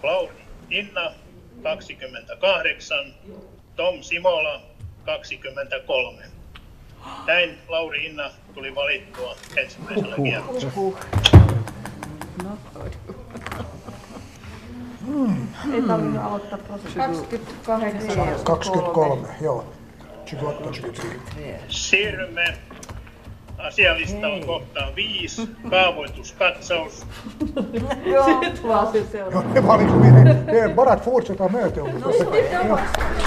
Cloud Inna 28, Tom Simola 23. Näin Lauri Inna tuli valittua ensimmäisellä kierroksella. Ei tarvinnut aloittaa prosessia. 28. 23, joo. Chigotto, Chigotto. Siirrymme asialistalla kohtaan 5, kaavoituskatsaus. Joo. Sitten vaan se seuraava. Det var liksom, det är bara att fortsätta mötet. No, sitten on